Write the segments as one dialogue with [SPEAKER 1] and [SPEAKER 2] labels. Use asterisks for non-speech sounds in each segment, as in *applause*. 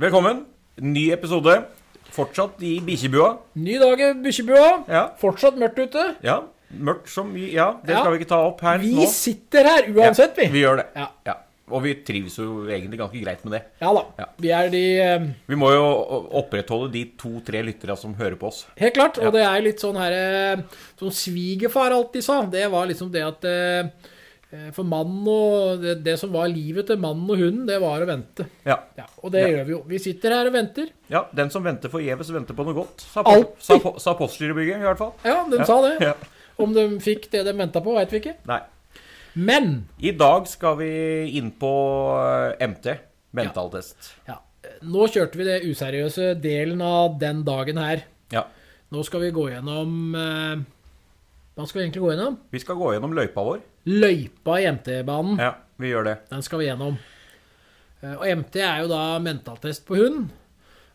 [SPEAKER 1] Velkommen. Ny episode. Fortsatt i bikkjebua.
[SPEAKER 2] Ny dag i bikkjebua.
[SPEAKER 1] Ja.
[SPEAKER 2] Fortsatt mørkt ute.
[SPEAKER 1] ja. Mørkt som mye Ja, det
[SPEAKER 2] Ja.
[SPEAKER 1] skal vi ikke ta opp her
[SPEAKER 2] Vi
[SPEAKER 1] nå.
[SPEAKER 2] sitter her uansett,
[SPEAKER 1] Vi
[SPEAKER 2] vi.
[SPEAKER 1] gjør det.
[SPEAKER 2] Ja.
[SPEAKER 1] Ja. Og vi trives jo egentlig ganske greit med det.
[SPEAKER 2] Ja da.
[SPEAKER 1] Ja.
[SPEAKER 2] Vi er de eh,
[SPEAKER 1] Vi må jo opprettholde de to-tre lytterne som hører på oss.
[SPEAKER 2] Helt klart.
[SPEAKER 1] Ja.
[SPEAKER 2] Og det er litt sånn her eh, Som svigerfar alltid sa, det var liksom det at eh, eh, For mannen og det, det som var livet til mannen og hunden, det var å vente.
[SPEAKER 1] Ja.
[SPEAKER 2] Ja, og det
[SPEAKER 1] Ja.
[SPEAKER 2] gjør vi jo. Vi sitter her og venter.
[SPEAKER 1] ja den som venter forgjeves, venter på noe godt, sa,
[SPEAKER 2] Alltid.
[SPEAKER 1] sa, po- sa poststyrebygget i hvert fall.
[SPEAKER 2] Ja, de sa det.
[SPEAKER 1] Ja.
[SPEAKER 2] Om de fikk det de venta på, veit vi ikke.
[SPEAKER 1] Nei.
[SPEAKER 2] Men
[SPEAKER 1] I dag skal vi inn på eh, MT. Mentaltest.
[SPEAKER 2] ja, eh, nå kjørte vi det useriøse delen av den dagen her.
[SPEAKER 1] Ja.
[SPEAKER 2] Nå skal vi gå gjennom eh, Hva skal vi egentlig gå gjennom?
[SPEAKER 1] Vi skal gå gjennom løypa vår.
[SPEAKER 2] Løypa i MT-banen.
[SPEAKER 1] Ja, vi gjør det.
[SPEAKER 2] Den skal vi gjennom. Eh, Og MT er jo da mentaltest på hund.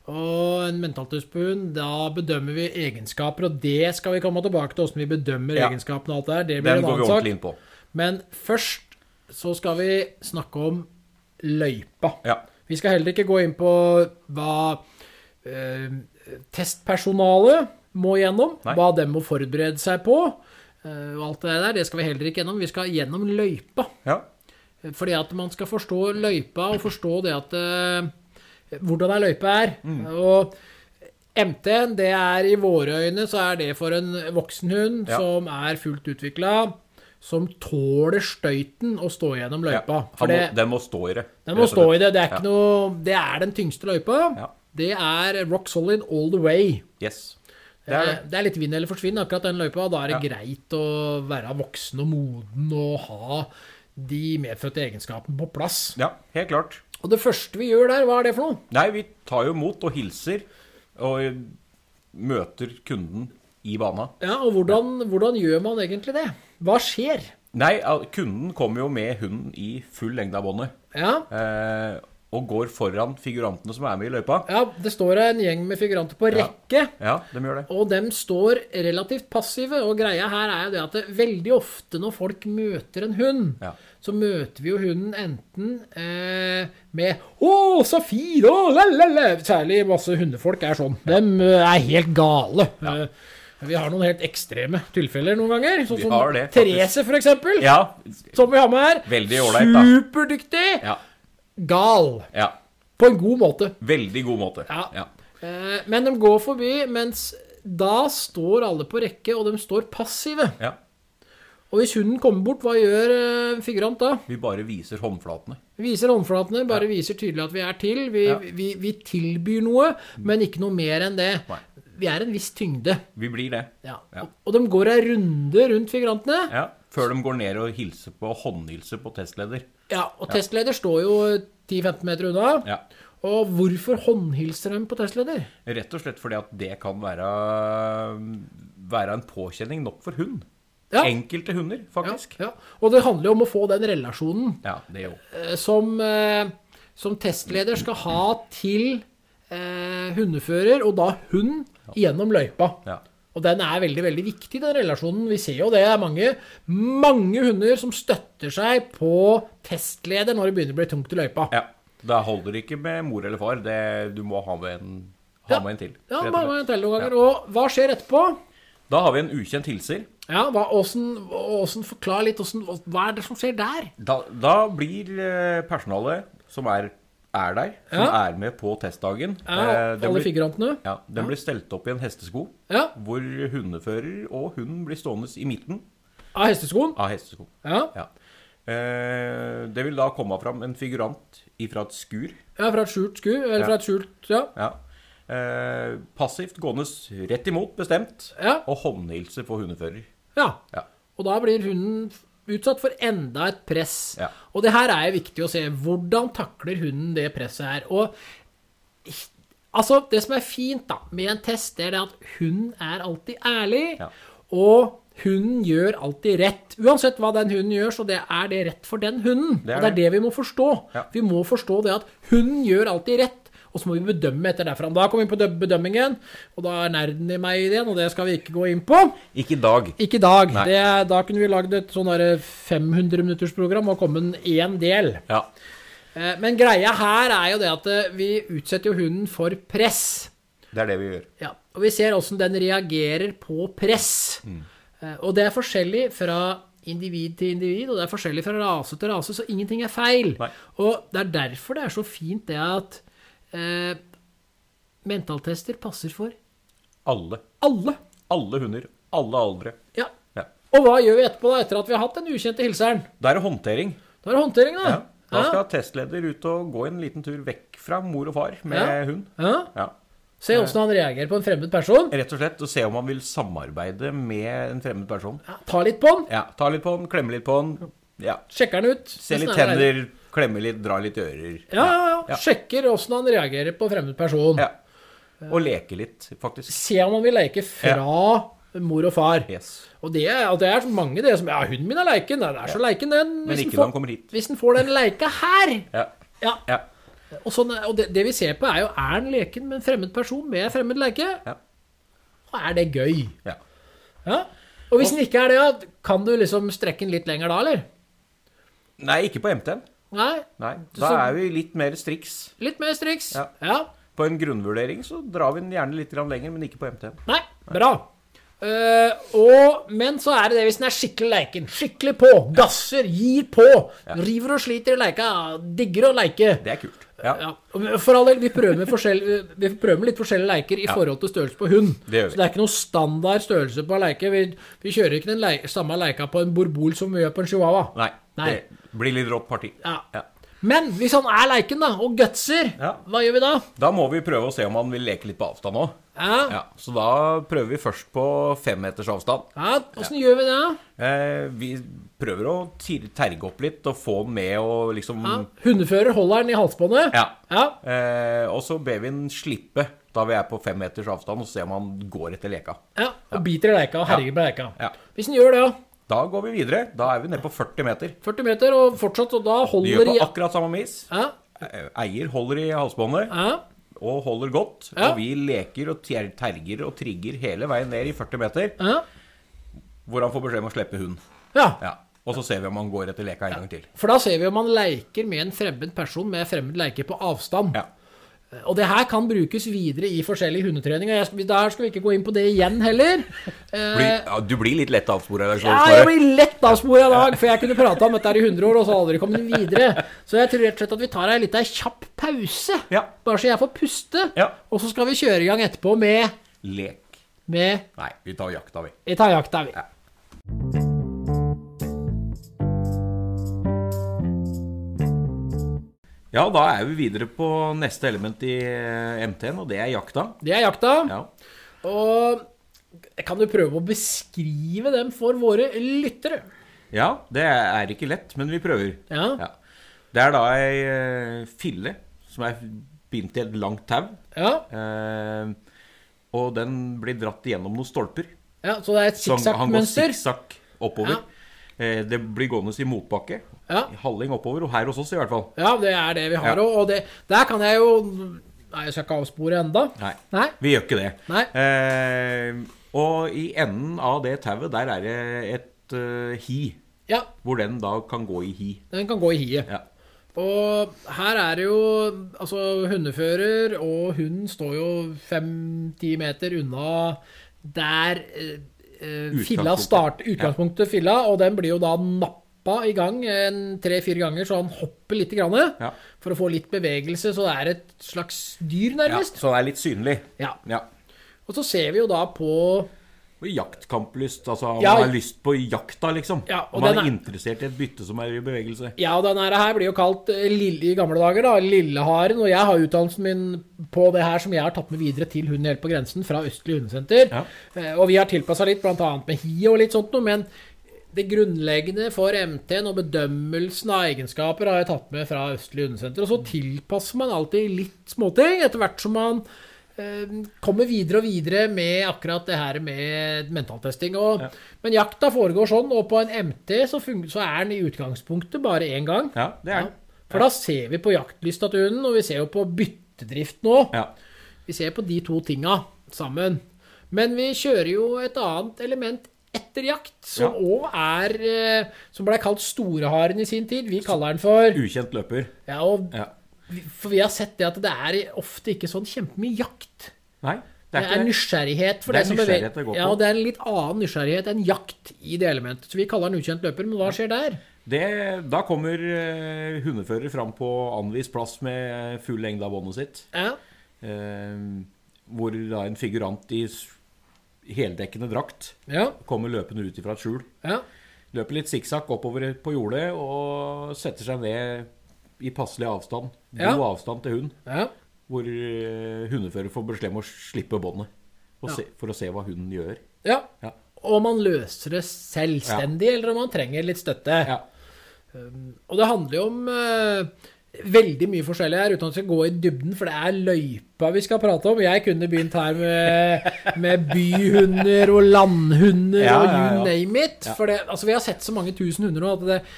[SPEAKER 2] Og en mentaltest på hund, da bedømmer vi egenskaper, og det skal vi komme tilbake til, åssen vi bedømmer
[SPEAKER 1] Ja.
[SPEAKER 2] egenskapene og alt det her. Det blir
[SPEAKER 1] Den
[SPEAKER 2] en
[SPEAKER 1] går vi
[SPEAKER 2] annen sak.
[SPEAKER 1] ordentlig inn på.
[SPEAKER 2] Men først så skal vi snakke om løypa.
[SPEAKER 1] Ja.
[SPEAKER 2] Vi skal heller ikke gå inn på hva eh, testpersonalet må gjennom,
[SPEAKER 1] Nei.
[SPEAKER 2] hva de må forberede seg på. eh, og alt det der, det skal vi heller ikke gjennom. Vi skal gjennom løypa.
[SPEAKER 1] ja.
[SPEAKER 2] Fordi at man skal forstå løypa og forstå det at eh, Hvordan ei løype er.
[SPEAKER 1] Mm.
[SPEAKER 2] Og MT, det er i våre øyne så er det for en voksen hund
[SPEAKER 1] Ja.
[SPEAKER 2] som er fullt utvikla, som tåler støyten å stå gjennom løypa.
[SPEAKER 1] Ja, han
[SPEAKER 2] For det,
[SPEAKER 1] må, den må stå i det.
[SPEAKER 2] den må stå i det. Det er, ikke
[SPEAKER 1] Ja.
[SPEAKER 2] noe, det er den tyngste løypa.
[SPEAKER 1] Ja.
[SPEAKER 2] Det er rock solid all the way.
[SPEAKER 1] Yes.
[SPEAKER 2] Det Eh. er, det er litt vinn eller forsvinn akkurat den løypa. og Da er det
[SPEAKER 1] Ja.
[SPEAKER 2] greit å være voksen og moden og ha de medfødte egenskapene på plass.
[SPEAKER 1] Ja, helt klart.
[SPEAKER 2] Og det første vi gjør der, hva er det for noe?
[SPEAKER 1] Nei, vi tar jo imot og hilser og eh, møter kunden i bana.
[SPEAKER 2] Ja, og hvordan, hvordan gjør man egentlig det? Hva skjer?
[SPEAKER 1] Nei, al- kunden kommer jo med hunden i full lengde av båndet.
[SPEAKER 2] Ja,
[SPEAKER 1] Eh, og går foran figurantene som er med i løypa.
[SPEAKER 2] ja det står en gjeng med figuranter på
[SPEAKER 1] Ja.
[SPEAKER 2] rekke.
[SPEAKER 1] Ja, de gjør det.
[SPEAKER 2] Og dem står relativt passive, og greia her er jo det at det, veldig ofte når folk møter en hund,
[SPEAKER 1] Ja.
[SPEAKER 2] så møter vi jo hunden enten eh, med 'Å, så fin!' Å, la, la, la. Særlig masse hundefolk er sånn. Dem eh, er helt gale. Eh, vi har noen helt ekstreme tilfeller noen ganger. Sånn
[SPEAKER 1] Vi
[SPEAKER 2] som
[SPEAKER 1] har det, faktisk.
[SPEAKER 2] Therese, for eksempel.
[SPEAKER 1] Ja,
[SPEAKER 2] Som vi har med her.
[SPEAKER 1] Veldig ålreit, da.
[SPEAKER 2] Superdyktig.
[SPEAKER 1] ja,
[SPEAKER 2] Gal.
[SPEAKER 1] ja.
[SPEAKER 2] På en god måte.
[SPEAKER 1] Veldig god måte.
[SPEAKER 2] Ja.
[SPEAKER 1] Ja.
[SPEAKER 2] Eh, Men de går forbi, mens da står alle på rekke, og de står passive.
[SPEAKER 1] ja.
[SPEAKER 2] Og hvis hunden kommer bort, hva gjør eh, en figurant da?
[SPEAKER 1] Vi bare viser håndflatene.
[SPEAKER 2] Viser håndflatene, bare viser tydelig at vi er til. Vi,
[SPEAKER 1] Ja. Mm.
[SPEAKER 2] vi, vi tilbyr noe, men ikke noe mer enn det.
[SPEAKER 1] Nei.
[SPEAKER 2] Vi er en viss tyngde.
[SPEAKER 1] Vi blir det.
[SPEAKER 2] Ja.
[SPEAKER 1] Ja.
[SPEAKER 2] Og, og de går ei runde rundt figurantene.
[SPEAKER 1] Ja. Før de går ned og hilser på, håndhilser på testleder.
[SPEAKER 2] Ja, og testleder står jo 10-15 meter unna.
[SPEAKER 1] Ja.
[SPEAKER 2] Og hvorfor håndhilser de på testleder?
[SPEAKER 1] Rett og slett fordi at det kan være, være en påkjenning nok for hund.
[SPEAKER 2] Ja.
[SPEAKER 1] Enkelte hunder,
[SPEAKER 2] Ja,
[SPEAKER 1] faktisk.
[SPEAKER 2] ja. Og det handler jo om å få den relasjonen
[SPEAKER 1] Ja, det er jo.
[SPEAKER 2] eh, som, eh, som testleder skal ha til eh, hundefører, og da hund, gjennom løypa.
[SPEAKER 1] Ja.
[SPEAKER 2] Og den er veldig veldig viktig, den relasjonen. Vi ser jo det er mange, mange hunder som støtter seg på testleder når det begynner å bli tungt i løypa.
[SPEAKER 1] ja. Da holder det ikke med mor eller far. Det, du må ha med en, ha
[SPEAKER 2] Ja.
[SPEAKER 1] med en til.
[SPEAKER 2] Ja,
[SPEAKER 1] rett og
[SPEAKER 2] bare
[SPEAKER 1] slett.
[SPEAKER 2] en telle noen ganger. Og hva skjer etterpå?
[SPEAKER 1] Da har vi en ukjent hilser.
[SPEAKER 2] Ja, hva, åssen, åssen, Forklar litt åssen, hva er det som skjer der?
[SPEAKER 1] Da, da blir eh, personalet som er, er der, som
[SPEAKER 2] Ja.
[SPEAKER 1] er med på testdagen
[SPEAKER 2] Ja,
[SPEAKER 1] eh, den
[SPEAKER 2] alle
[SPEAKER 1] blir-
[SPEAKER 2] figurantene?
[SPEAKER 1] ja, Den blir stelt opp i en hestesko,
[SPEAKER 2] Ja,
[SPEAKER 1] hvor hundefører og hund blir stående i midten
[SPEAKER 2] Av hesteskoen?
[SPEAKER 1] av hesteskoen.
[SPEAKER 2] Ja.
[SPEAKER 1] Ja. Eh, det vil da komme fram en figurant ifra et skur.
[SPEAKER 2] Ja, fra et skjult sku, eller
[SPEAKER 1] Ja.
[SPEAKER 2] fra et skjult Ja.
[SPEAKER 1] Ja. Eh, passivt gående s- rett imot, bestemt.
[SPEAKER 2] Ja.
[SPEAKER 1] Og håndhilse på hundefører.
[SPEAKER 2] ja.
[SPEAKER 1] Ja.
[SPEAKER 2] Og da blir hunden utsatt for enda et press.
[SPEAKER 1] Ja.
[SPEAKER 2] Og det her er viktig å se. Hvordan takler hunden det presset her? Og altså, det som er fint da, med en test, det er det at hunden er alltid ærlig.
[SPEAKER 1] Ja.
[SPEAKER 2] Og hunden gjør alltid rett. Uansett hva den hunden gjør, så det er det rett for den hunden.
[SPEAKER 1] Det er
[SPEAKER 2] og det er det vi må forstå.
[SPEAKER 1] Ja.
[SPEAKER 2] Vi må forstå det at hunden gjør alltid rett. Og så må vi bedømme etter derfra. Da kommer vi inn på dø- bedømmingen, og da er nerden i meg i den, og det skal vi ikke gå inn på.
[SPEAKER 1] Ikke i dag.
[SPEAKER 2] Ikke i dag.
[SPEAKER 1] Nei.
[SPEAKER 2] Det, er- da kunne vi lagd et sånn derre 500 minutters program og kommet én del.
[SPEAKER 1] Ja.
[SPEAKER 2] Eh, Men greia her er jo det at eh, vi utsetter jo hunden for press.
[SPEAKER 1] Det er det vi gjør.
[SPEAKER 2] Ja, og vi ser åssen den reagerer på press.
[SPEAKER 1] Mm.
[SPEAKER 2] Eh, Og det er forskjellig fra individ til individ, og det er forskjellig fra rase til rase, så ingenting er feil.
[SPEAKER 1] Nei.
[SPEAKER 2] Og det er derfor det er så fint det at eh, mentaltester passer for
[SPEAKER 1] Alle.
[SPEAKER 2] alle.
[SPEAKER 1] Alle hunder. Alle aldre.
[SPEAKER 2] Ja.
[SPEAKER 1] Ja.
[SPEAKER 2] Og hva gjør vi etterpå, da, etter at vi har hatt den ukjente hilseren?
[SPEAKER 1] Da er det håndtering.
[SPEAKER 2] Da er det håndtering, da.
[SPEAKER 1] Ja. Da skal testleder ut og gå en liten tur vekk fra mor og far med
[SPEAKER 2] Ja.
[SPEAKER 1] hund.
[SPEAKER 2] ja.
[SPEAKER 1] Ja.
[SPEAKER 2] Se åssen han reagerer på en fremmed person.
[SPEAKER 1] Rett og slett og se om han vil samarbeide med en fremmed person.
[SPEAKER 2] Ja, ta litt på han.
[SPEAKER 1] Ja, Ta litt på den, klemme litt på den. Ja.
[SPEAKER 2] Sjekker han ut.
[SPEAKER 1] Se litt
[SPEAKER 2] Hvordan er det der?
[SPEAKER 1] tenner, klemme litt, dra litt i ører.
[SPEAKER 2] Ja, ja, ja.
[SPEAKER 1] Ja.
[SPEAKER 2] Sjekker åssen han reagerer på fremmed person.
[SPEAKER 1] Ja. Og leke litt, faktisk.
[SPEAKER 2] Se om han vil leke fra mor og far.
[SPEAKER 1] Yes.
[SPEAKER 2] Og det, er- at det er mange det som Ja, hunden min er leiken. Nei, den er så leiken, den.
[SPEAKER 1] Men
[SPEAKER 2] den
[SPEAKER 1] ikke
[SPEAKER 2] får-
[SPEAKER 1] når han kommer hit.
[SPEAKER 2] Hvis den får den leika her.
[SPEAKER 1] Ja.
[SPEAKER 2] Ja.
[SPEAKER 1] ja.
[SPEAKER 2] Og, sånn, og det, det vi ser på, er jo er han leken med en fremmed person med fremmed leke?
[SPEAKER 1] Ja.
[SPEAKER 2] Og er det gøy?
[SPEAKER 1] ja.
[SPEAKER 2] Ja. Og hvis den ikke er det, ja, kan du liksom strekke den litt lenger da, eller?
[SPEAKER 1] Nei, ikke på MTN.
[SPEAKER 2] Nei?
[SPEAKER 1] Nei. Da
[SPEAKER 2] Så-
[SPEAKER 1] er vi litt mer striks.
[SPEAKER 2] Litt mer striks?
[SPEAKER 1] Ja.
[SPEAKER 2] ja.
[SPEAKER 1] På en grunnvurdering så drar vi den gjerne litt grann lenger, men ikke på MTN.
[SPEAKER 2] Nei, bra. Eh, og, men så er det det hvis den er skikkelig leiken. Skikkelig på. Gasser, gir på. River og sliter i leika. Digger å leike.
[SPEAKER 1] Det er kult. Ja,
[SPEAKER 2] Ja. og For all del, vi prøver, med forskjell, vi prøver med litt forskjellige leker i forhold til størrelse på hund.
[SPEAKER 1] Det gjør vi.
[SPEAKER 2] Så det er ikke noen standard størrelse på leike. Vi, vi kjører ikke den leik, samme leika på en borbol som vi gjør på en chihuahua.
[SPEAKER 1] Nei.
[SPEAKER 2] Nei.
[SPEAKER 1] Det blir litt rått parti.
[SPEAKER 2] Ja.
[SPEAKER 1] Ja.
[SPEAKER 2] Men hvis han er leiken, da, og gutser,
[SPEAKER 1] Ja.
[SPEAKER 2] hva gjør vi da?
[SPEAKER 1] Da må vi prøve å se om han vil leke litt på avstand òg.
[SPEAKER 2] Ja, ja.
[SPEAKER 1] Ja, så da prøver vi først på fem meters avstand.
[SPEAKER 2] Åssen gjør vi det? da?
[SPEAKER 1] Eh, vi prøver å tir- terge opp litt og få han med og liksom
[SPEAKER 2] Ja. Mm. Hundefører holder den i halsbåndet.
[SPEAKER 1] Ja.
[SPEAKER 2] ja.
[SPEAKER 1] Eh, og så ber vi han slippe da vi er på fem meters avstand, og se om han går etter leka.
[SPEAKER 2] Ja, og biter i leika og herjer på leika.
[SPEAKER 1] Ja.
[SPEAKER 2] Hvis den gjør det, ja.
[SPEAKER 1] Da går vi videre. Da er vi nede på 40 meter.
[SPEAKER 2] 40 meter og fortsatt, og da
[SPEAKER 1] Vi gjør
[SPEAKER 2] holder
[SPEAKER 1] på
[SPEAKER 2] i-
[SPEAKER 1] akkurat samme vis.
[SPEAKER 2] ja,
[SPEAKER 1] Eh, Eier holder i halsbåndet
[SPEAKER 2] ja,
[SPEAKER 1] og holder godt.
[SPEAKER 2] Ja.
[SPEAKER 1] Og vi leker og ter- terger og trigger hele veien ned i 40 meter,
[SPEAKER 2] ja,
[SPEAKER 1] hvor han får beskjed om å slippe hund.
[SPEAKER 2] ja.
[SPEAKER 1] Ja. Og så ser vi om han går etter leka en gang til.
[SPEAKER 2] For da ser vi om man leker med en fremmed person med fremmed leike på avstand.
[SPEAKER 1] Ja.
[SPEAKER 2] Og det her kan brukes videre i forskjellig hundetrening, og jeg, skal- der skal vi ikke gå inn på det igjen
[SPEAKER 1] *laughs*
[SPEAKER 2] heller.
[SPEAKER 1] Bli,
[SPEAKER 2] Eh,
[SPEAKER 1] ja, du blir litt lett avspora.
[SPEAKER 2] ja, jeg blir lett avsporet i dag, for jeg kunne prata om dette her i 100 år, og så aldri kommet videre. Så jeg tror rett og slett at vi tar ei lita kjapp pause,
[SPEAKER 1] Ja.
[SPEAKER 2] bare så jeg får puste,
[SPEAKER 1] Ja.
[SPEAKER 2] og så skal vi kjøre i gang etterpå med,
[SPEAKER 1] Lek.
[SPEAKER 2] med
[SPEAKER 1] Nei, vi tar jakta, vi.
[SPEAKER 2] Vi tar jakta, vi.
[SPEAKER 1] Ja, da er vi videre på neste element i eh, MT-en, og det er jakta.
[SPEAKER 2] Det er jakta.
[SPEAKER 1] Ja.
[SPEAKER 2] Og kan du prøve å beskrive dem for våre lyttere?
[SPEAKER 1] ja, det er ikke lett, men vi prøver.
[SPEAKER 2] Ja.
[SPEAKER 1] Ja. Det er da ei eh, fille som er bindt i et langt tau.
[SPEAKER 2] Ja.
[SPEAKER 1] eh, Og den blir dratt igjennom noen stolper.
[SPEAKER 2] ja så det er et
[SPEAKER 1] Så han- han går
[SPEAKER 2] sikksakk-mønster?
[SPEAKER 1] sikksakk oppover. Eh, Det blir gående i motbakke.
[SPEAKER 2] Ja.
[SPEAKER 1] Halling oppover, og her hos oss i hvert fall.
[SPEAKER 2] Ja, det er det vi har.
[SPEAKER 1] Ja.
[SPEAKER 2] Og det, der kan jeg jo Nei, jeg skal ikke avspore enda.
[SPEAKER 1] Nei.
[SPEAKER 2] Nei.
[SPEAKER 1] Vi gjør ikke det.
[SPEAKER 2] Nei.
[SPEAKER 1] Eh, og i enden av det tauet, der er det et eh, hi.
[SPEAKER 2] Ja,
[SPEAKER 1] Hvor den da kan gå i hi.
[SPEAKER 2] den kan gå i hiet.
[SPEAKER 1] Ja.
[SPEAKER 2] Og her er det jo Altså, hundefører og hunden står jo fem-ti meter unna der eh, eh, filla
[SPEAKER 1] Utgangspunktet.
[SPEAKER 2] starter. Utgangspunktet filla, og den blir jo da nappa i gang en tre-fire ganger, så han hopper lite grann.
[SPEAKER 1] Ja.
[SPEAKER 2] For å få litt bevegelse, så det er et slags dyr,
[SPEAKER 1] ja.
[SPEAKER 2] nærmest.
[SPEAKER 1] Så den er litt synlig.
[SPEAKER 2] Ja.
[SPEAKER 1] Ja.
[SPEAKER 2] Og så ser vi jo da på
[SPEAKER 1] Og jaktkamplyst. Altså
[SPEAKER 2] Ja.
[SPEAKER 1] man har lyst på jakta, liksom.
[SPEAKER 2] Ja, og
[SPEAKER 1] og man
[SPEAKER 2] den
[SPEAKER 1] er,
[SPEAKER 2] er-
[SPEAKER 1] interessert i et bytte som er i bevegelse.
[SPEAKER 2] Ja, og denne her blir jo kalt eh, Lille i gamle dager, da. Lilleharen. Og jeg har utdannelsen min på det her som jeg har tatt med videre til Hunden helt på grensen fra Østlig hundesenter.
[SPEAKER 1] Ja.
[SPEAKER 2] Eh, Og vi har tilpassa litt, bl.a. med hi og litt sånt noe. Men det grunnleggende for MT-en og bedømmelsen av egenskaper har jeg tatt med fra Østlig hundesenter. Og så tilpasser man alltid litt småting etter hvert som man eh, kommer videre og videre med akkurat det her med mentaltesting. Og, Men jakta foregår sånn, og på en MT så, fung så er den i utgangspunktet bare én gang.
[SPEAKER 1] Ja, det er den.
[SPEAKER 2] Ja. For da ser vi på jaktlysta til hunden, og vi ser jo på byttedrift nå.
[SPEAKER 1] Ja.
[SPEAKER 2] Vi ser på de to tinga sammen. Men vi kjører jo et annet element etterpå Setterjakt, som
[SPEAKER 1] Ja.
[SPEAKER 2] òg er eh, Som blei kalt Storeharen i sin tid. Vi kaller den for
[SPEAKER 1] Ukjent løper.
[SPEAKER 2] Ja, og
[SPEAKER 1] Ja.
[SPEAKER 2] vi- For vi har sett det at det er ofte ikke sånn kjempemye jakt.
[SPEAKER 1] Nei,
[SPEAKER 2] Det er nysgjerrighet. For
[SPEAKER 1] Det er
[SPEAKER 2] det som beveger-
[SPEAKER 1] nysgjerrighet det går på.
[SPEAKER 2] Ja, og det er en litt annen nysgjerrighet enn jakt i det elementet. Så vi kaller den ukjent løper, men hva skjer der?
[SPEAKER 1] Det, da kommer eh, hundefører fram på anvist plass med full lengde av båndet sitt.
[SPEAKER 2] Ja,
[SPEAKER 1] Eh, hvor da en figurant i s- heldekkende drakt
[SPEAKER 2] ja,
[SPEAKER 1] kommer løpende ut ifra et skjul.
[SPEAKER 2] ja.
[SPEAKER 1] Løper litt sikksakk oppover på jordet og setter seg ned i passelig avstand. God
[SPEAKER 2] Ja.
[SPEAKER 1] avstand til hund.
[SPEAKER 2] ja.
[SPEAKER 1] Hvor eh, hundefører får beskjed om å slippe båndet og
[SPEAKER 2] Ja.
[SPEAKER 1] se, for å se hva hunden gjør.
[SPEAKER 2] ja.
[SPEAKER 1] Ja.
[SPEAKER 2] Og man løser det selvstendig, eller om man trenger litt støtte. Um,
[SPEAKER 1] Ja.
[SPEAKER 2] Og det handler jo om eh, veldig mye forskjellig her, uten at vi skal gå i dybden, for det er løypa vi skal prate om. Jeg kunne begynt her med, med byhunder og landhunder
[SPEAKER 1] Ja,
[SPEAKER 2] og you
[SPEAKER 1] ja, ja.
[SPEAKER 2] name it.
[SPEAKER 1] Ja.
[SPEAKER 2] For det, altså, vi har sett så mange tusen hunder nå at det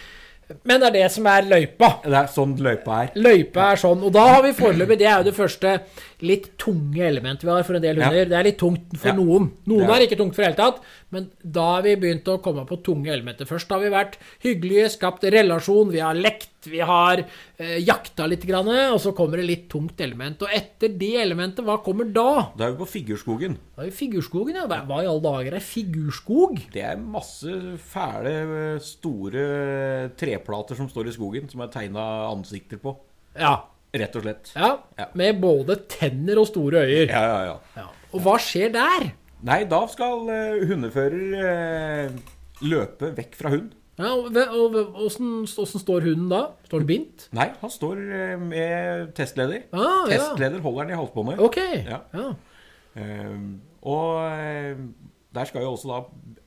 [SPEAKER 2] Men det er det som er løypa.
[SPEAKER 1] Det er sånn løypa er.
[SPEAKER 2] Løypa er sånn, og da har vi foreløpig Det er jo det første litt tunge elementet vi har for en del hunder.
[SPEAKER 1] Ja.
[SPEAKER 2] Det er litt tungt for
[SPEAKER 1] Ja.
[SPEAKER 2] noen. Noen
[SPEAKER 1] Det
[SPEAKER 2] er.
[SPEAKER 1] er-
[SPEAKER 2] ikke tungt for det hele tatt, men da har vi begynt å komme på tunge elementer. Først har vi vært hyggelige, skapt relasjon, vi har lekt, vi har eh, jakta litt, grann, og så kommer det litt tungt element. Og etter det elementet, hva kommer da?
[SPEAKER 1] Da er vi på Figurskogen.
[SPEAKER 2] Da er vi figurskogen, ja. Hva hva i alle dager er figurskog?
[SPEAKER 1] Det er masse fæle, eh, store eh, treplater som står i skogen, som er tegna ansikter på.
[SPEAKER 2] Ja.
[SPEAKER 1] Rett og slett.
[SPEAKER 2] ja.
[SPEAKER 1] Ja.
[SPEAKER 2] Med både tenner og store øyer.
[SPEAKER 1] Ja, ja, ja.
[SPEAKER 2] Ja. Og hva skjer der?
[SPEAKER 1] Nei, da skal eh, hundefører eh, løpe vekk fra hund.
[SPEAKER 2] Ja, og ve- og ve- Åssen åssen står hunden da? Står den bindt?
[SPEAKER 1] Nei, han står eh, med testleder.
[SPEAKER 2] Ah, ja.
[SPEAKER 1] testleder holder han i halsbåndet.
[SPEAKER 2] Ok.
[SPEAKER 1] Ja.
[SPEAKER 2] Ja.
[SPEAKER 1] Eh, og eh, der skal jo også da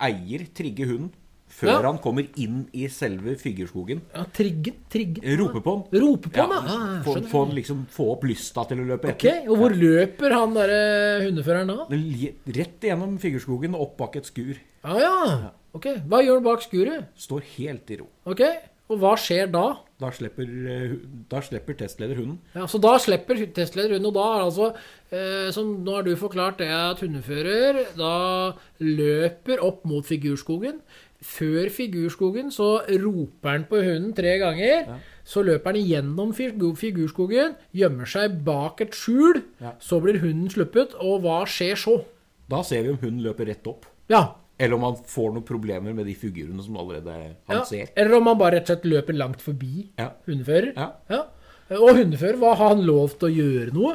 [SPEAKER 1] eier trigge hunden før
[SPEAKER 2] Ja.
[SPEAKER 1] han kommer inn i selve figurskogen.
[SPEAKER 2] ja triggen, triggen.
[SPEAKER 1] Rope på han.
[SPEAKER 2] Rope på
[SPEAKER 1] Ja,
[SPEAKER 2] han, ja. Ah,
[SPEAKER 1] få,
[SPEAKER 2] skjønner.
[SPEAKER 1] få, han liksom, få opp lysta til å løpe
[SPEAKER 2] Ok, Og hvor løper han derre hundeføreren da?
[SPEAKER 1] Det li- Rett gjennom figurskogen og opp bak et skur.
[SPEAKER 2] Ja, ja. Ok, Hva gjør han bak skuret?
[SPEAKER 1] Står helt i ro.
[SPEAKER 2] Ok, Og hva skjer da?
[SPEAKER 1] Da slipper, eh, hu- da slipper testleder hunden.
[SPEAKER 2] Ja, så da slipper testleder hunden, og da er det altså eh, Som nå har du forklart det at hundefører da løper opp mot figurskogen. Før figurskogen så roper han på hunden tre ganger. Så løper han igjennom figu- figurskogen, gjemmer seg bak et skjul.
[SPEAKER 1] Ja.
[SPEAKER 2] Så blir hunden sluppet, og hva skjer så?
[SPEAKER 1] Da ser vi om hunden løper rett opp.
[SPEAKER 2] Ja.
[SPEAKER 1] Eller om han får noen problemer med de figurene som allerede han
[SPEAKER 2] ja.
[SPEAKER 1] ser.
[SPEAKER 2] Eller om han bare rett og slett løper langt forbi
[SPEAKER 1] Ja.
[SPEAKER 2] hundefører.
[SPEAKER 1] Ja.
[SPEAKER 2] Og hundefører, hva har han lov til å gjøre noe?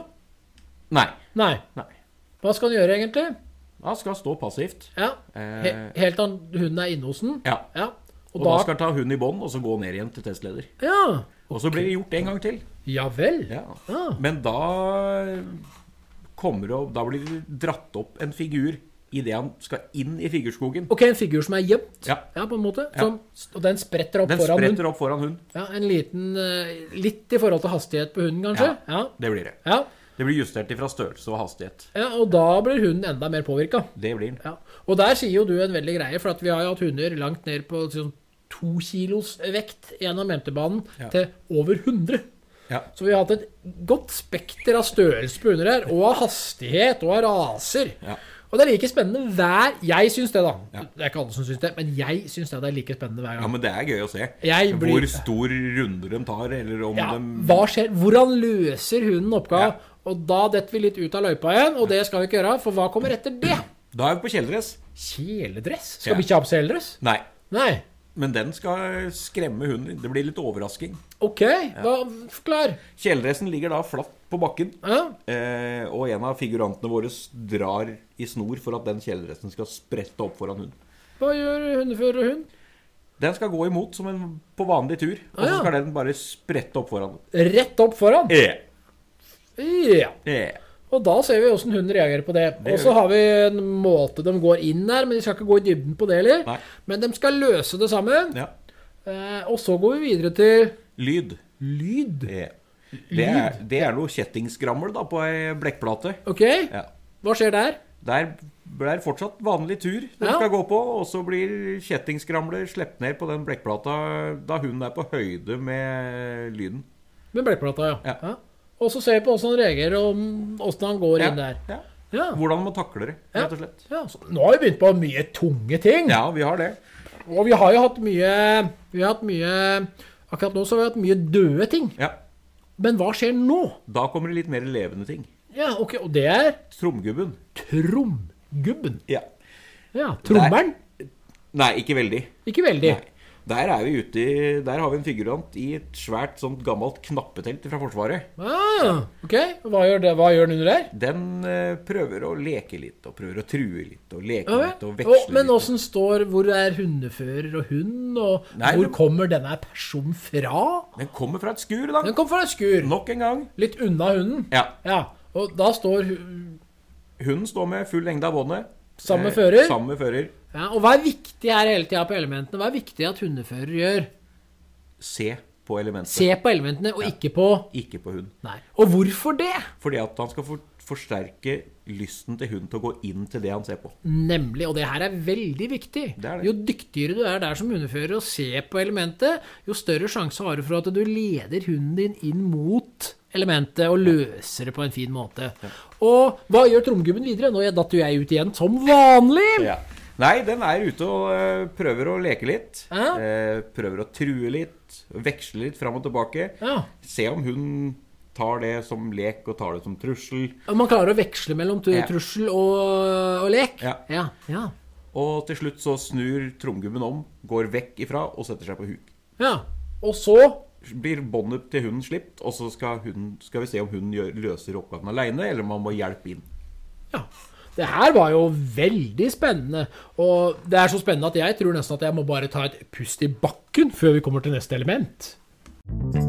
[SPEAKER 1] Nei.
[SPEAKER 2] Nei.
[SPEAKER 1] Nei.
[SPEAKER 2] Hva skal han gjøre, egentlig?
[SPEAKER 1] Han skal stå passivt.
[SPEAKER 2] Ja. He
[SPEAKER 1] Eh,
[SPEAKER 2] helt til han- hunden er inne hos den?
[SPEAKER 1] ja.
[SPEAKER 2] Ja. Og,
[SPEAKER 1] Og
[SPEAKER 2] da,
[SPEAKER 1] da skal han ta hunden i bånd og så gå ned igjen til testleder.
[SPEAKER 2] Ja.
[SPEAKER 1] Og så blir det gjort en gang til.
[SPEAKER 2] Ja vel.
[SPEAKER 1] Ja.
[SPEAKER 2] Ja.
[SPEAKER 1] Men da kommer det opp- Da blir det dratt opp en figur idet han skal inn i figurskogen.
[SPEAKER 2] Ok, en figur som er gjemt,
[SPEAKER 1] Ja.
[SPEAKER 2] på en måte.
[SPEAKER 1] Ja.
[SPEAKER 2] Som, Og den spretter opp
[SPEAKER 1] Den
[SPEAKER 2] foran
[SPEAKER 1] spretter
[SPEAKER 2] hunden.
[SPEAKER 1] opp foran hund.
[SPEAKER 2] Ja, en liten eh, Litt i forhold til hastighet på hunden, kanskje. Ja.
[SPEAKER 1] Det blir det.
[SPEAKER 2] ja.
[SPEAKER 1] Det blir justert ifra størrelse og hastighet.
[SPEAKER 2] ja. Og da blir hunden enda mer påvirka.
[SPEAKER 1] Det blir den.
[SPEAKER 2] Ja. Og der sier jo du en veldig greie, for at vi har jo hatt hunder langt ned på sånn to kilos vekt gjennom MT-banen
[SPEAKER 1] Ja.
[SPEAKER 2] til over 100.
[SPEAKER 1] Ja.
[SPEAKER 2] Så vi har hatt et godt spekter av størrelse på hunder her, og av hastighet, og av raser.
[SPEAKER 1] Ja.
[SPEAKER 2] Og det er like spennende hver Jeg syns det, da.
[SPEAKER 1] Ja.
[SPEAKER 2] Det er ikke alle som syns det, men jeg syns det, det er like spennende hver
[SPEAKER 1] ja,
[SPEAKER 2] gang.
[SPEAKER 1] men det er gøy å se
[SPEAKER 2] Jeg blir-
[SPEAKER 1] hvor stor runde de tar, eller om
[SPEAKER 2] Ja,
[SPEAKER 1] de
[SPEAKER 2] hva skjer? Hvordan løser hunden
[SPEAKER 1] Ja.
[SPEAKER 2] oppgaven? Og da detter vi litt ut av løypa igjen, og det skal vi ikke gjøre, for hva kommer etter det?
[SPEAKER 1] Da er vi på kjeledress.
[SPEAKER 2] Kjeledress?
[SPEAKER 1] Ja.
[SPEAKER 2] Skal vi ikke ha på kjeledress?
[SPEAKER 1] Nei,
[SPEAKER 2] Nei.
[SPEAKER 1] men den skal skremme hunden. Det blir litt overrasking.
[SPEAKER 2] Ok, hva, forklar.
[SPEAKER 1] Kjeledressen ligger da flatt på bakken,
[SPEAKER 2] Ja.
[SPEAKER 1] eh, og en av figurantene våre drar i snor for at den kjeledressen skal sprette opp foran hunden.
[SPEAKER 2] Hva gjør hundefører og hund?
[SPEAKER 1] Den skal gå imot som en på vanlig tur, og
[SPEAKER 2] Ah,
[SPEAKER 1] så
[SPEAKER 2] ja.
[SPEAKER 1] skal den bare sprette opp foran.
[SPEAKER 2] Rett opp foran.
[SPEAKER 1] Eh,
[SPEAKER 2] Ja.
[SPEAKER 1] eh.
[SPEAKER 2] Og da ser vi åssen hunden reagerer på det.
[SPEAKER 1] Det
[SPEAKER 2] Og så
[SPEAKER 1] gjør vi.
[SPEAKER 2] har vi en måte de går inn der, men de skal ikke gå i dybden på det heller.
[SPEAKER 1] Nei.
[SPEAKER 2] Men de skal løse det sammen.
[SPEAKER 1] Ja.
[SPEAKER 2] Eh, og så går vi videre til
[SPEAKER 1] Lyd.
[SPEAKER 2] lyd.
[SPEAKER 1] Eh. Det er, det er noe kjettingskrammel da, på ei blekkplate.
[SPEAKER 2] Ok,
[SPEAKER 1] Ja.
[SPEAKER 2] hva skjer der?
[SPEAKER 1] Der ble det fortsatt vanlig tur de
[SPEAKER 2] Ja.
[SPEAKER 1] skal gå på, og så blir kjettingsskramler slept ned på den blekkplata da hunden er på høyde med lyden.
[SPEAKER 2] Med blekkplata, ja.
[SPEAKER 1] Ja.
[SPEAKER 2] Og så ser vi på åssen han reagerer, og åssen han går inn der.
[SPEAKER 1] Ja.
[SPEAKER 2] Ja.
[SPEAKER 1] Hvordan man takler det, rett og slett.
[SPEAKER 2] Ja, så nå har vi begynt på mye tunge ting.
[SPEAKER 1] Ja, vi har det.
[SPEAKER 2] Og vi har jo hatt mye Vi har hatt mye Akkurat nå så har vi hatt mye døde ting.
[SPEAKER 1] Ja.
[SPEAKER 2] Men hva skjer nå?
[SPEAKER 1] Da kommer det litt mer levende ting.
[SPEAKER 2] Ja, ok, Og det er
[SPEAKER 1] Tromgubben.
[SPEAKER 2] tromgubben.
[SPEAKER 1] Ja.
[SPEAKER 2] Ja, Trommeren?
[SPEAKER 1] Nei, ikke veldig.
[SPEAKER 2] Ikke veldig.
[SPEAKER 1] Nei. Der er vi ute i Der har vi en figurant i et svært sånt gammelt knappetelt fra Forsvaret.
[SPEAKER 2] Ah, ok, Hva gjør, det, hva gjør den under der?
[SPEAKER 1] Den eh, prøver å leke litt, og prøver å true litt, og leke
[SPEAKER 2] Ja,
[SPEAKER 1] litt, og
[SPEAKER 2] vel.
[SPEAKER 1] veksle
[SPEAKER 2] Og, men
[SPEAKER 1] litt.
[SPEAKER 2] åssen står Hvor er hundefører og hund, og
[SPEAKER 1] Nei,
[SPEAKER 2] hvor
[SPEAKER 1] men-
[SPEAKER 2] kommer denne personen fra?
[SPEAKER 1] Den kommer fra et skur, da.
[SPEAKER 2] Den kom fra et skur,
[SPEAKER 1] Nok en gang.
[SPEAKER 2] litt unna hunden.
[SPEAKER 1] Ja.
[SPEAKER 2] Ja, Og da står hu-
[SPEAKER 1] Hunden står med full lengde av båndet.
[SPEAKER 2] samme fører.
[SPEAKER 1] Samme fører.
[SPEAKER 2] Ja, og hva er viktig her hele tida på elementene? Hva er viktig at hundefører gjør?
[SPEAKER 1] Se på elementet,
[SPEAKER 2] Se på elementene, og ikke på
[SPEAKER 1] ikke på hund.
[SPEAKER 2] Nei. Og hvorfor det?
[SPEAKER 1] Fordi at han skal for forsterke lysten til hunden til å gå inn til det han ser på.
[SPEAKER 2] Nemlig, og det her er veldig viktig.
[SPEAKER 1] Det er det.
[SPEAKER 2] Jo dyktigere du er der som hundefører og ser på elementet, jo større sjanse har du for at du leder hunden din inn mot elementet og løser det på en fin måte. Og hva gjør tromgubben videre? Nå datt jo jeg ut igjen, som vanlig!
[SPEAKER 1] Ja. Nei, den er ute og eh, prøver å leke litt.
[SPEAKER 2] Ja.
[SPEAKER 1] Eh, prøver å true litt, veksle litt fram og tilbake.
[SPEAKER 2] Ja.
[SPEAKER 1] Se om hun tar det som lek og tar det som trussel.
[SPEAKER 2] Og Man klarer å veksle mellom tru-
[SPEAKER 1] Ja.
[SPEAKER 2] trussel og, og lek.
[SPEAKER 1] Ja.
[SPEAKER 2] ja. ja.
[SPEAKER 1] Og til slutt så snur tromgubben om, går vekk ifra og setter seg på huk.
[SPEAKER 2] ja. Og så
[SPEAKER 1] Blir båndet til hunden slipt, og så skal, hunden, skal vi se om hunden gjør, løser oppgaven aleine, eller om han må hjelpe inn.
[SPEAKER 2] Ja. Det her var jo veldig spennende. Og det er så spennende at jeg tror nesten at jeg må bare ta et pust i bakken før vi kommer til neste element.
[SPEAKER 1] Da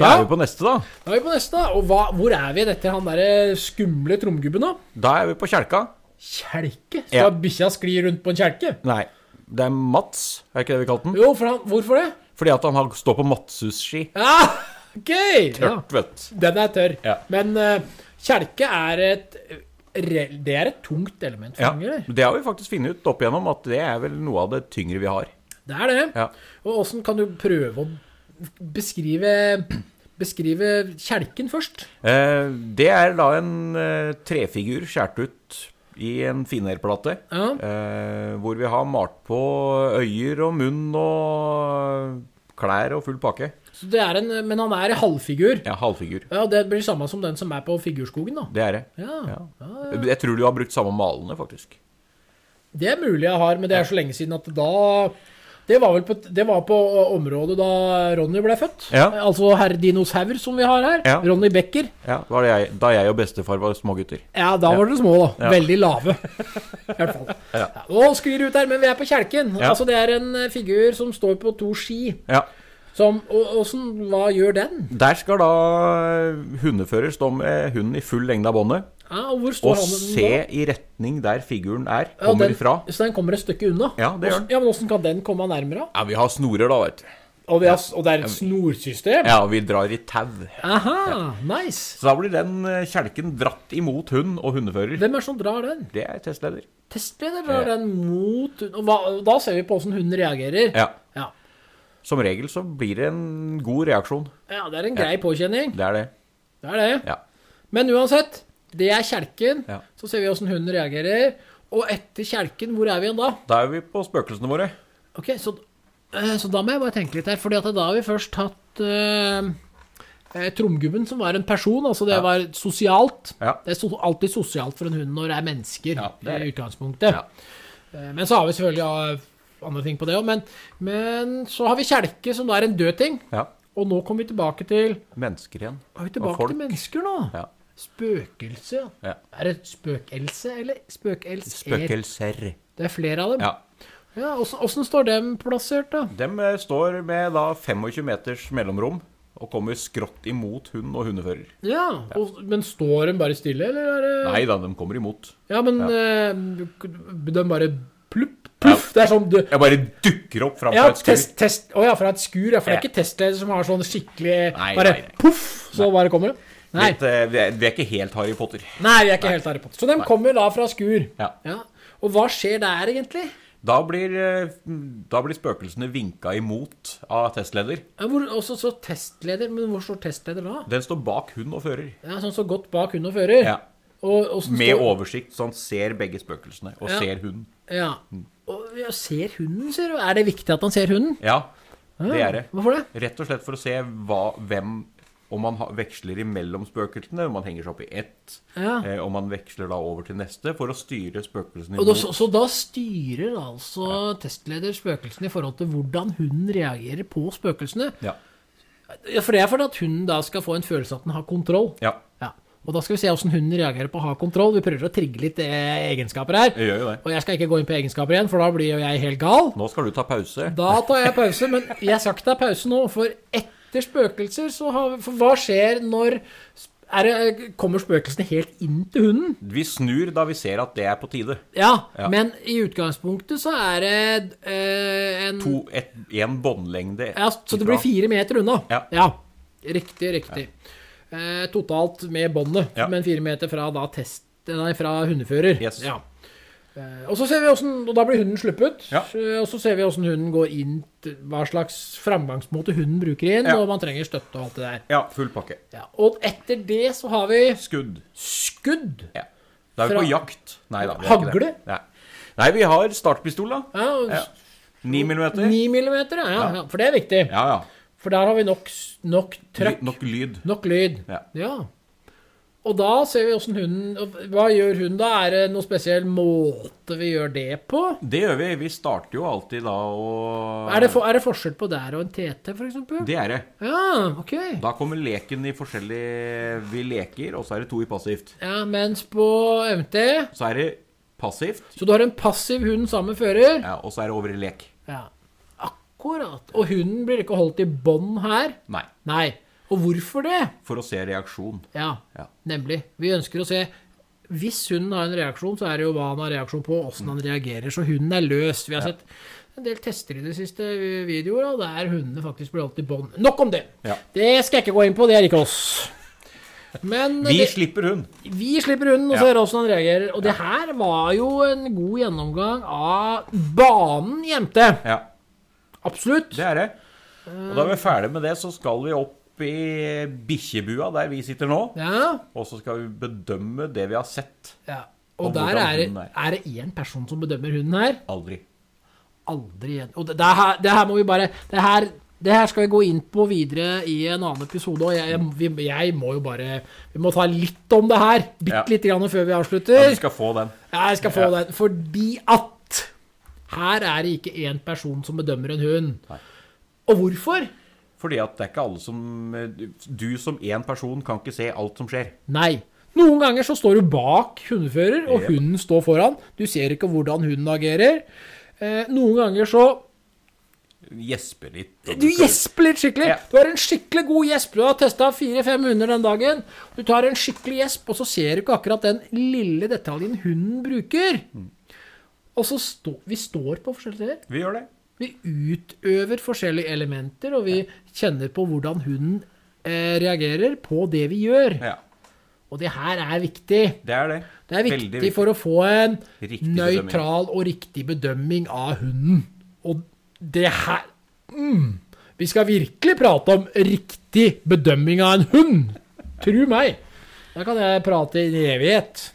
[SPEAKER 2] Ja,
[SPEAKER 1] er vi på neste, da.
[SPEAKER 2] da er vi på neste. da. Og hva, hvor er vi etter han derre skumle tromgubben, da?
[SPEAKER 1] Da er vi på kjelka.
[SPEAKER 2] Kjelke? Skal
[SPEAKER 1] Ja.
[SPEAKER 2] bikkja skli rundt på en kjelke?
[SPEAKER 1] Nei, det er Mats, er ikke det vi kalte den?
[SPEAKER 2] Jo, for han, hvorfor det?
[SPEAKER 1] Fordi at han har- står på Matshus-ski.
[SPEAKER 2] Ja, *laughs* OK! Ja.
[SPEAKER 1] Tørt, vet du.
[SPEAKER 2] Den er tørr.
[SPEAKER 1] Ja.
[SPEAKER 2] Men eh, kjelke er et re- Det er et tungt element for
[SPEAKER 1] Ja,
[SPEAKER 2] mange. eller?
[SPEAKER 1] det har vi faktisk funnet ut opp igjennom, at det er vel noe av det tyngre vi har.
[SPEAKER 2] Det er det.
[SPEAKER 1] Ja.
[SPEAKER 2] Og åssen kan du prøve å beskrive Beskrive kjelken først?
[SPEAKER 1] Eh, det er da en eh, trefigur skåret ut i en finerplate,
[SPEAKER 2] Ja.
[SPEAKER 1] eh, hvor vi har malt på øyer og munn og klær og full pakke.
[SPEAKER 2] Så det er en, men han er i halvfigur.
[SPEAKER 1] Ja, halvfigur.
[SPEAKER 2] Ja, Det blir samme som den som er på Figurskogen, da.
[SPEAKER 1] Det er det.
[SPEAKER 2] Ja.
[SPEAKER 1] Ja. Jeg tror du har brukt samme malene, faktisk.
[SPEAKER 2] Det er mulig jeg har, men det er så lenge siden at da Det var vel på, det var på eh, området da Ronny ble født.
[SPEAKER 1] Ja.
[SPEAKER 2] Altså herr Dinosaur, som vi har her.
[SPEAKER 1] Ja.
[SPEAKER 2] Ronny Becker.
[SPEAKER 1] Ja, det var det jeg, da jeg og bestefar var smågutter.
[SPEAKER 2] Ja, da var dere små, da.
[SPEAKER 1] Ja.
[SPEAKER 2] Veldig
[SPEAKER 1] *laughs*
[SPEAKER 2] lave. I hvert fall. Ja. Nå sklir det ut her, men vi er på kjelken.
[SPEAKER 1] Ja.
[SPEAKER 2] Altså, det er en eh, figur som står på to ski.
[SPEAKER 1] Ja.
[SPEAKER 2] Som, og, og sånn, hva gjør den?
[SPEAKER 1] Der skal da hundefører stå med hunden i full lengde av båndet
[SPEAKER 2] Ja, og hvor står
[SPEAKER 1] og
[SPEAKER 2] han
[SPEAKER 1] se
[SPEAKER 2] den da?
[SPEAKER 1] i retning der figuren er,
[SPEAKER 2] Ja,
[SPEAKER 1] kommer
[SPEAKER 2] den-
[SPEAKER 1] ifra.
[SPEAKER 2] Så den kommer et stykke unna?
[SPEAKER 1] Ja, det gjør
[SPEAKER 2] Hvordan- Ja, men Åssen kan den komme nærmere?
[SPEAKER 1] Ja, vi har snorer, da, vet du.
[SPEAKER 2] Og, vi har, og det er et snorsystem?
[SPEAKER 1] Ja, vi drar i tau.
[SPEAKER 2] Aha, nice.
[SPEAKER 1] Så da blir den eh, kjelken dratt imot hund og hundefører.
[SPEAKER 2] Hvem er det som drar den?
[SPEAKER 1] Det er testleder.
[SPEAKER 2] Testleder drar
[SPEAKER 1] Ja.
[SPEAKER 2] den mot og hva, og Da ser vi på åssen hunden reagerer.
[SPEAKER 1] Ja.
[SPEAKER 2] Ja.
[SPEAKER 1] Som regel så blir det en god reaksjon.
[SPEAKER 2] Ja, det er en grei påkjenning.
[SPEAKER 1] Det er det.
[SPEAKER 2] Det er det.
[SPEAKER 1] Ja.
[SPEAKER 2] Men uansett, det er kjelken.
[SPEAKER 1] Ja.
[SPEAKER 2] Så ser vi åssen hunden reagerer. Og etter kjelken, hvor er vi igjen da?
[SPEAKER 1] Da er vi på spøkelsene våre.
[SPEAKER 2] Ok, så, eh, så da må jeg bare tenke litt her, fordi at da har vi først tatt eh, eh, tromgubben, som var en person, altså det
[SPEAKER 1] Ja.
[SPEAKER 2] var sosialt.
[SPEAKER 1] Ja.
[SPEAKER 2] Det er so alltid sosialt for en hund når det er mennesker,
[SPEAKER 1] Ja, det er
[SPEAKER 2] i
[SPEAKER 1] det.
[SPEAKER 2] utgangspunktet.
[SPEAKER 1] Ja.
[SPEAKER 2] Eh, men så har vi selvfølgelig ja, andre ting på det òg, men, men så har vi kjelke, som da er en død ting.
[SPEAKER 1] Ja.
[SPEAKER 2] Og nå kommer vi tilbake til
[SPEAKER 1] Mennesker igjen.
[SPEAKER 2] Er vi
[SPEAKER 1] Og
[SPEAKER 2] tilbake
[SPEAKER 1] folk.
[SPEAKER 2] til mennesker nå?
[SPEAKER 1] Ja.
[SPEAKER 2] Spøkelse, ja.
[SPEAKER 1] Ja.
[SPEAKER 2] Er det spøkelse, eller spøkelse?
[SPEAKER 1] Spøkelser.
[SPEAKER 2] Det er flere av dem.
[SPEAKER 1] Ja.
[SPEAKER 2] Ja, åssen- Åssen står dem plassert, da?
[SPEAKER 1] Dem eh, står med da 25 meters mellomrom og kommer skrått imot hund og hundefører.
[SPEAKER 2] Ja, og, Men står de bare stille, eller er det
[SPEAKER 1] Nei da, de kommer imot.
[SPEAKER 2] Ja, men eh, de bare plupp, pluff. Det er sånn du,
[SPEAKER 1] Jeg bare dukker opp framfor
[SPEAKER 2] Ja,
[SPEAKER 1] et skur.
[SPEAKER 2] test, test Å ja, fra et skur, ja. For det er
[SPEAKER 1] Ja.
[SPEAKER 2] ikke testleder som har sånn skikkelig
[SPEAKER 1] Nei,
[SPEAKER 2] Bare
[SPEAKER 1] nei, nei.
[SPEAKER 2] poff, så bare kommer det. Nei,
[SPEAKER 1] Litt, eh, vi, er, vi er ikke helt Harry Potter.
[SPEAKER 2] nei, vi er ikke helt Harry Potter. Så de kommer da fra skur.
[SPEAKER 1] Ja.
[SPEAKER 2] Ja. Og hva skjer der, egentlig?
[SPEAKER 1] Da blir, eh, da blir spøkelsene vinka imot av testleder.
[SPEAKER 2] Ja, Hvor også så testleder, men hvor står testleder da?
[SPEAKER 1] Den står bak hund og fører.
[SPEAKER 2] Ja, sånn så godt bak hund og fører.
[SPEAKER 1] Ja.
[SPEAKER 2] Og, og sånn
[SPEAKER 1] Med
[SPEAKER 2] står-
[SPEAKER 1] oversikt, så han ser begge spøkelsene, og
[SPEAKER 2] Ja.
[SPEAKER 1] ser hunden.
[SPEAKER 2] Ja. Og ja, ser hunden, sier du? Er det viktig at han ser hunden?
[SPEAKER 1] Ja, det er det.
[SPEAKER 2] Hvorfor det?
[SPEAKER 1] Rett og slett for å se hva, hvem Om man ha, veksler imellom spøkelsene, om man henger seg opp i ett,
[SPEAKER 2] Ja.
[SPEAKER 1] eh, om man veksler da over til neste, for å styre spøkelsene
[SPEAKER 2] Og da,
[SPEAKER 1] imot.
[SPEAKER 2] så, så da styrer altså testleder spøkelsene i forhold til hvordan hunden reagerer på spøkelsene?
[SPEAKER 1] Ja.
[SPEAKER 2] Ja, For det er for at hunden da skal få en følelse av at den har kontroll.
[SPEAKER 1] ja.
[SPEAKER 2] Ja. Og da skal vi se hvordan hunden reagerer på å ha kontroll. Vi prøver å trigge litt eh, egenskaper her.
[SPEAKER 1] Jeg gjør jo det.
[SPEAKER 2] Og jeg skal ikke gå inn på egenskaper igjen, for da blir jo jeg helt gal.
[SPEAKER 1] Nå skal du ta pause.
[SPEAKER 2] Da tar jeg pause, men jeg skal ikke ta pause nå, for etter spøkelser så har vi For hva skjer når er det, Kommer spøkelsene helt inn til hunden?
[SPEAKER 1] Vi snur da vi ser at det er på tide.
[SPEAKER 2] Ja,
[SPEAKER 1] Ja.
[SPEAKER 2] men i utgangspunktet så er det eh, en
[SPEAKER 1] To, et, en båndlengde
[SPEAKER 2] Ja, Så det blir
[SPEAKER 1] ifra.
[SPEAKER 2] fire meter unna?
[SPEAKER 1] Ja.
[SPEAKER 2] Riktig, riktig. Eh, totalt med båndet,
[SPEAKER 1] Ja.
[SPEAKER 2] men fire meter fra da test... Nei, fra hundefører.
[SPEAKER 1] Yes.
[SPEAKER 2] Ja. Eh, Og så ser vi hvordan, og da blir hunden sluppet.
[SPEAKER 1] Ja.
[SPEAKER 2] Eh, Og så ser vi hvordan hunden går inn, til- hva slags framgangsmåte hunden bruker igjen,
[SPEAKER 1] Ja.
[SPEAKER 2] og man trenger støtte og alt det der.
[SPEAKER 1] Ja, full pakke.
[SPEAKER 2] Ja. Og etter det så har vi
[SPEAKER 1] Skudd.
[SPEAKER 2] skudd.
[SPEAKER 1] Ja. Da er vi
[SPEAKER 2] Fra-
[SPEAKER 1] på jakt. Nei da. vi er ikke det.
[SPEAKER 2] Hagle?
[SPEAKER 1] Nei. Nei, vi har startpistol, da.
[SPEAKER 2] Ja, og
[SPEAKER 1] Ja. 9 millimeter.
[SPEAKER 2] 9 millimeter, ja, ja. ja. For det er viktig.
[SPEAKER 1] Ja, ja.
[SPEAKER 2] For der har vi nok, s- nok trøkk.
[SPEAKER 1] Ly- Nok lyd.
[SPEAKER 2] Nok lyd.
[SPEAKER 1] Ja.
[SPEAKER 2] Og da ser vi åssen hunden og Hva gjør hunden da? Er det noen spesiell måte vi gjør det på?
[SPEAKER 1] Det gjør vi. Vi starter jo alltid da å
[SPEAKER 2] Er det, for, er det forskjell på der og en TT, f.eks.?
[SPEAKER 1] Det er det.
[SPEAKER 2] Ja, ok.
[SPEAKER 1] Da kommer leken i forskjellige Vi leker, og så er det to i passivt.
[SPEAKER 2] Ja, mens på MT
[SPEAKER 1] Så er det passivt,
[SPEAKER 2] Så du har en passiv hund sammen med fører?
[SPEAKER 1] ja, og så er det over i lek.
[SPEAKER 2] Ja. Akkurat. Og hunden blir ikke holdt i bånd her?
[SPEAKER 1] Nei.
[SPEAKER 2] Nei. Og hvorfor det?
[SPEAKER 1] For å se reaksjon.
[SPEAKER 2] Ja,
[SPEAKER 1] Ja.
[SPEAKER 2] nemlig. Vi ønsker å se Hvis hunden har en reaksjon, så er det jo hva han har reaksjon på, åssen han reagerer. Så hunden er løs. Vi har sett en del tester i de siste videoer, og der hundene faktisk blir holdt i bånd. Nok om det!
[SPEAKER 1] Ja.
[SPEAKER 2] Det skal jeg ikke gå inn på, det er ikke oss. Men
[SPEAKER 1] Vi
[SPEAKER 2] det,
[SPEAKER 1] slipper hund.
[SPEAKER 2] vi slipper hunden og
[SPEAKER 1] Ja.
[SPEAKER 2] ser åssen han reagerer. Og det her var jo en god gjennomgang av banen i MT.
[SPEAKER 1] Ja,
[SPEAKER 2] Absolutt.
[SPEAKER 1] det er det. Og da vi er ferdig med det, så skal vi opp i bikkjebua der vi sitter nå.
[SPEAKER 2] Ja.
[SPEAKER 1] Og så skal vi bedømme det vi har sett.
[SPEAKER 2] ja. Og,
[SPEAKER 1] Og
[SPEAKER 2] der
[SPEAKER 1] hvordan
[SPEAKER 2] er det,
[SPEAKER 1] hunden er.
[SPEAKER 2] er det én person som bedømmer hunden her.
[SPEAKER 1] Aldri.
[SPEAKER 2] aldri igjen. Og det, det, her, det her må vi bare det her, det her skal vi gå inn på videre i en annen episode. Og jeg, jeg, vi, jeg må jo bare Vi må ta litt om det her. Bitte
[SPEAKER 1] Ja.
[SPEAKER 2] lite grann før vi
[SPEAKER 1] Ja, vi
[SPEAKER 2] avslutter.
[SPEAKER 1] skal få den.
[SPEAKER 2] Ja, jeg skal få den. Fordi at her er det ikke én person som bedømmer en hund.
[SPEAKER 1] Nei.
[SPEAKER 2] Og hvorfor?
[SPEAKER 1] Fordi at det er ikke alle som Du som én person kan ikke se alt som skjer.
[SPEAKER 2] Nei. Noen ganger så står du bak hundefører, og
[SPEAKER 1] Jep.
[SPEAKER 2] hunden står foran. Du ser ikke hvordan hunden agerer. Eh, noen ganger så
[SPEAKER 1] Gjespe litt. og
[SPEAKER 2] Du
[SPEAKER 1] skal-
[SPEAKER 2] gjesper litt skikkelig.
[SPEAKER 1] Ja.
[SPEAKER 2] Du har en skikkelig god gjesp. Du har testa 400-500 den dagen. Du tar en skikkelig gjesp, og så ser du ikke akkurat den lille detaljen hunden bruker. Og så stå, Vi står på forskjellige steder.
[SPEAKER 1] Vi gjør det.
[SPEAKER 2] Vi utøver forskjellige elementer, og vi kjenner på hvordan hunden eh, reagerer på det vi gjør.
[SPEAKER 1] Ja,
[SPEAKER 2] Og det her er viktig.
[SPEAKER 1] det er det.
[SPEAKER 2] Det er
[SPEAKER 1] Veldig
[SPEAKER 2] viktig for å få en
[SPEAKER 1] Riktig
[SPEAKER 2] nøytral og riktig bedømming av hunden. Og det her mm, Vi skal virkelig prate om riktig bedømming av en hund! Tru meg! Da kan jeg prate i en evighet.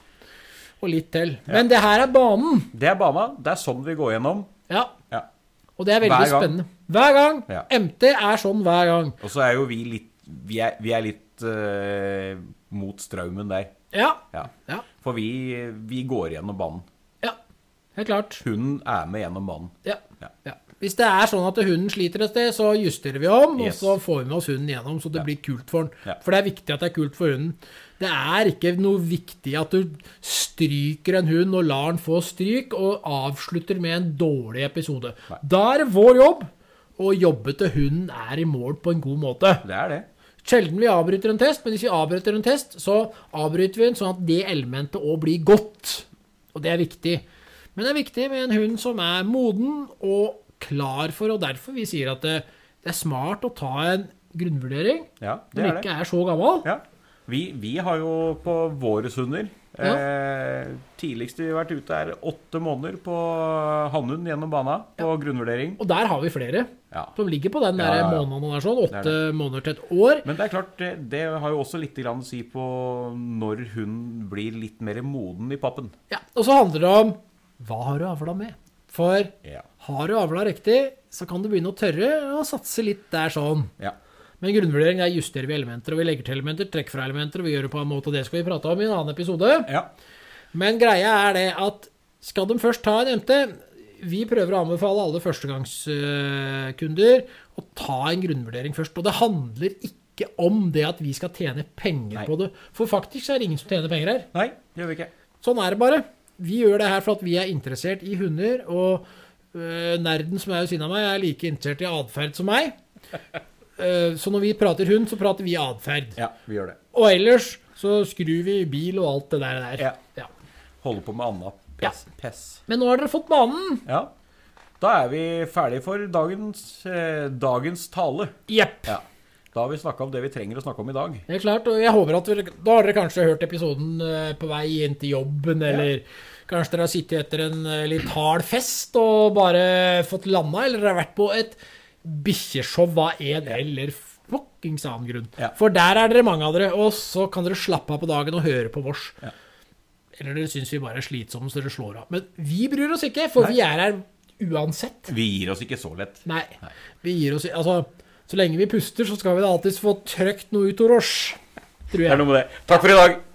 [SPEAKER 2] Og litt til. Men det her er banen.
[SPEAKER 1] Det er bana. Det er sånn vi går gjennom.
[SPEAKER 2] Ja.
[SPEAKER 1] Ja.
[SPEAKER 2] Og det er veldig
[SPEAKER 1] Hver gang.
[SPEAKER 2] spennende. Hver gang.
[SPEAKER 1] Ja.
[SPEAKER 2] MT er sånn hver gang.
[SPEAKER 1] Og så er jo vi litt Vi er, vi er litt eh, mot strømmen der.
[SPEAKER 2] Ja.
[SPEAKER 1] Ja.
[SPEAKER 2] Ja.
[SPEAKER 1] For vi, vi går gjennom banen.
[SPEAKER 2] ja. Helt klart.
[SPEAKER 1] Hunden er med gjennom banen.
[SPEAKER 2] Ja.
[SPEAKER 1] Ja.
[SPEAKER 2] Ja. Hvis det er sånn at hunden sliter et sted, så justerer vi om,
[SPEAKER 1] Yes.
[SPEAKER 2] og så får vi med oss hunden gjennom, så det blir kult for den.
[SPEAKER 1] Ja.
[SPEAKER 2] For det er viktig at det er kult for hunden. Det er ikke noe viktig at du stryker en hund og lar den få stryk, og avslutter med en dårlig episode.
[SPEAKER 1] Nei.
[SPEAKER 2] Da er det vår jobb å jobbe til hunden er i mål på en god måte.
[SPEAKER 1] Det er det.
[SPEAKER 2] Sjelden vi avbryter en test, men hvis vi avbryter en test, så avbryter vi den sånn at det elementet òg blir godt. Og det er viktig. Men det er viktig med en hund som er moden og klar for, og derfor vi sier at det, det er smart å ta en grunnvurdering
[SPEAKER 1] Ja, det
[SPEAKER 2] når
[SPEAKER 1] er
[SPEAKER 2] den
[SPEAKER 1] det.
[SPEAKER 2] ikke er så gammel,
[SPEAKER 1] Ja. Vi, vi har jo på våre hunder eh, Tidligst vi har vært ute, er åtte måneder på hannhund gjennom bana på grunnvurdering.
[SPEAKER 2] Og der har vi flere
[SPEAKER 1] Ja.
[SPEAKER 2] som ligger på den
[SPEAKER 1] Ja,
[SPEAKER 2] der
[SPEAKER 1] ja, ja.
[SPEAKER 2] måneden der sånn. Åtte
[SPEAKER 1] Det
[SPEAKER 2] måneder til et år.
[SPEAKER 1] Men det er klart, det, det har jo også litt grann å si på når hun blir litt mer moden i pappen.
[SPEAKER 2] Ja, og så handler det om hva har du avla med? For
[SPEAKER 1] Ja.
[SPEAKER 2] har du avla riktig, så kan du begynne å tørre å satse litt der sånn.
[SPEAKER 1] Ja.
[SPEAKER 2] Men grunnvurdering der justerer vi elementer, og vi legger til elementer, trekker fra elementer, og vi gjør det på en måte, og det skal vi prate om i en annen episode.
[SPEAKER 1] ja.
[SPEAKER 2] Men greia er det at skal de først ta en MT Vi prøver å anbefale alle førstegangskunder eh, å ta en grunnvurdering først. Og det handler ikke om det at vi skal tjene penger
[SPEAKER 1] Nei.
[SPEAKER 2] på det. For faktisk er det ingen som tjener penger her.
[SPEAKER 1] Nei, det gjør vi ikke.
[SPEAKER 2] Sånn er det bare. Vi gjør det her for at vi er interessert i hunder, og øh, nerden som er ved siden av meg, er like interessert i atferd
[SPEAKER 1] *laughs*
[SPEAKER 2] som meg. Eh, så når vi prater hund, så prater vi atferd.
[SPEAKER 1] Ja, vi gjør det.
[SPEAKER 2] Og ellers så skrur vi i bil og alt det der. der.
[SPEAKER 1] Ja.
[SPEAKER 2] Ja.
[SPEAKER 1] Holde på med anna pess. pess.
[SPEAKER 2] Men nå har dere fått banen.
[SPEAKER 1] Ja. Da er vi ferdige for dagens, eh, dagens tale.
[SPEAKER 2] Jepp.
[SPEAKER 1] Ja. Da har vi snakka om det vi trenger å snakke om i dag.
[SPEAKER 2] Det er klart, og jeg håper at dere, Da har dere kanskje hørt episoden eh, på vei inn til jobben, eller kanskje dere har sittet etter en eh, litt hard fest og bare fått landa, eller dere har vært på et bikkjeshow av en eller fuckings annen grunn.
[SPEAKER 1] Ja.
[SPEAKER 2] For der er dere mange av dere, og så kan dere slappe av på dagen og høre på vårs.
[SPEAKER 1] Ja.
[SPEAKER 2] Eller dere syns vi bare er slitsomme, så dere slår av. Men vi bryr oss ikke, for
[SPEAKER 1] Nei.
[SPEAKER 2] vi er her uansett.
[SPEAKER 1] Vi gir oss ikke så lett.
[SPEAKER 2] Nei.
[SPEAKER 1] Nei.
[SPEAKER 2] Vi gir oss i- Altså, så lenge vi puster, så skal vi da alltids få trøkt noe ut av oss. Tror
[SPEAKER 1] Det er
[SPEAKER 2] jeg.
[SPEAKER 1] noe med det. Takk for i dag.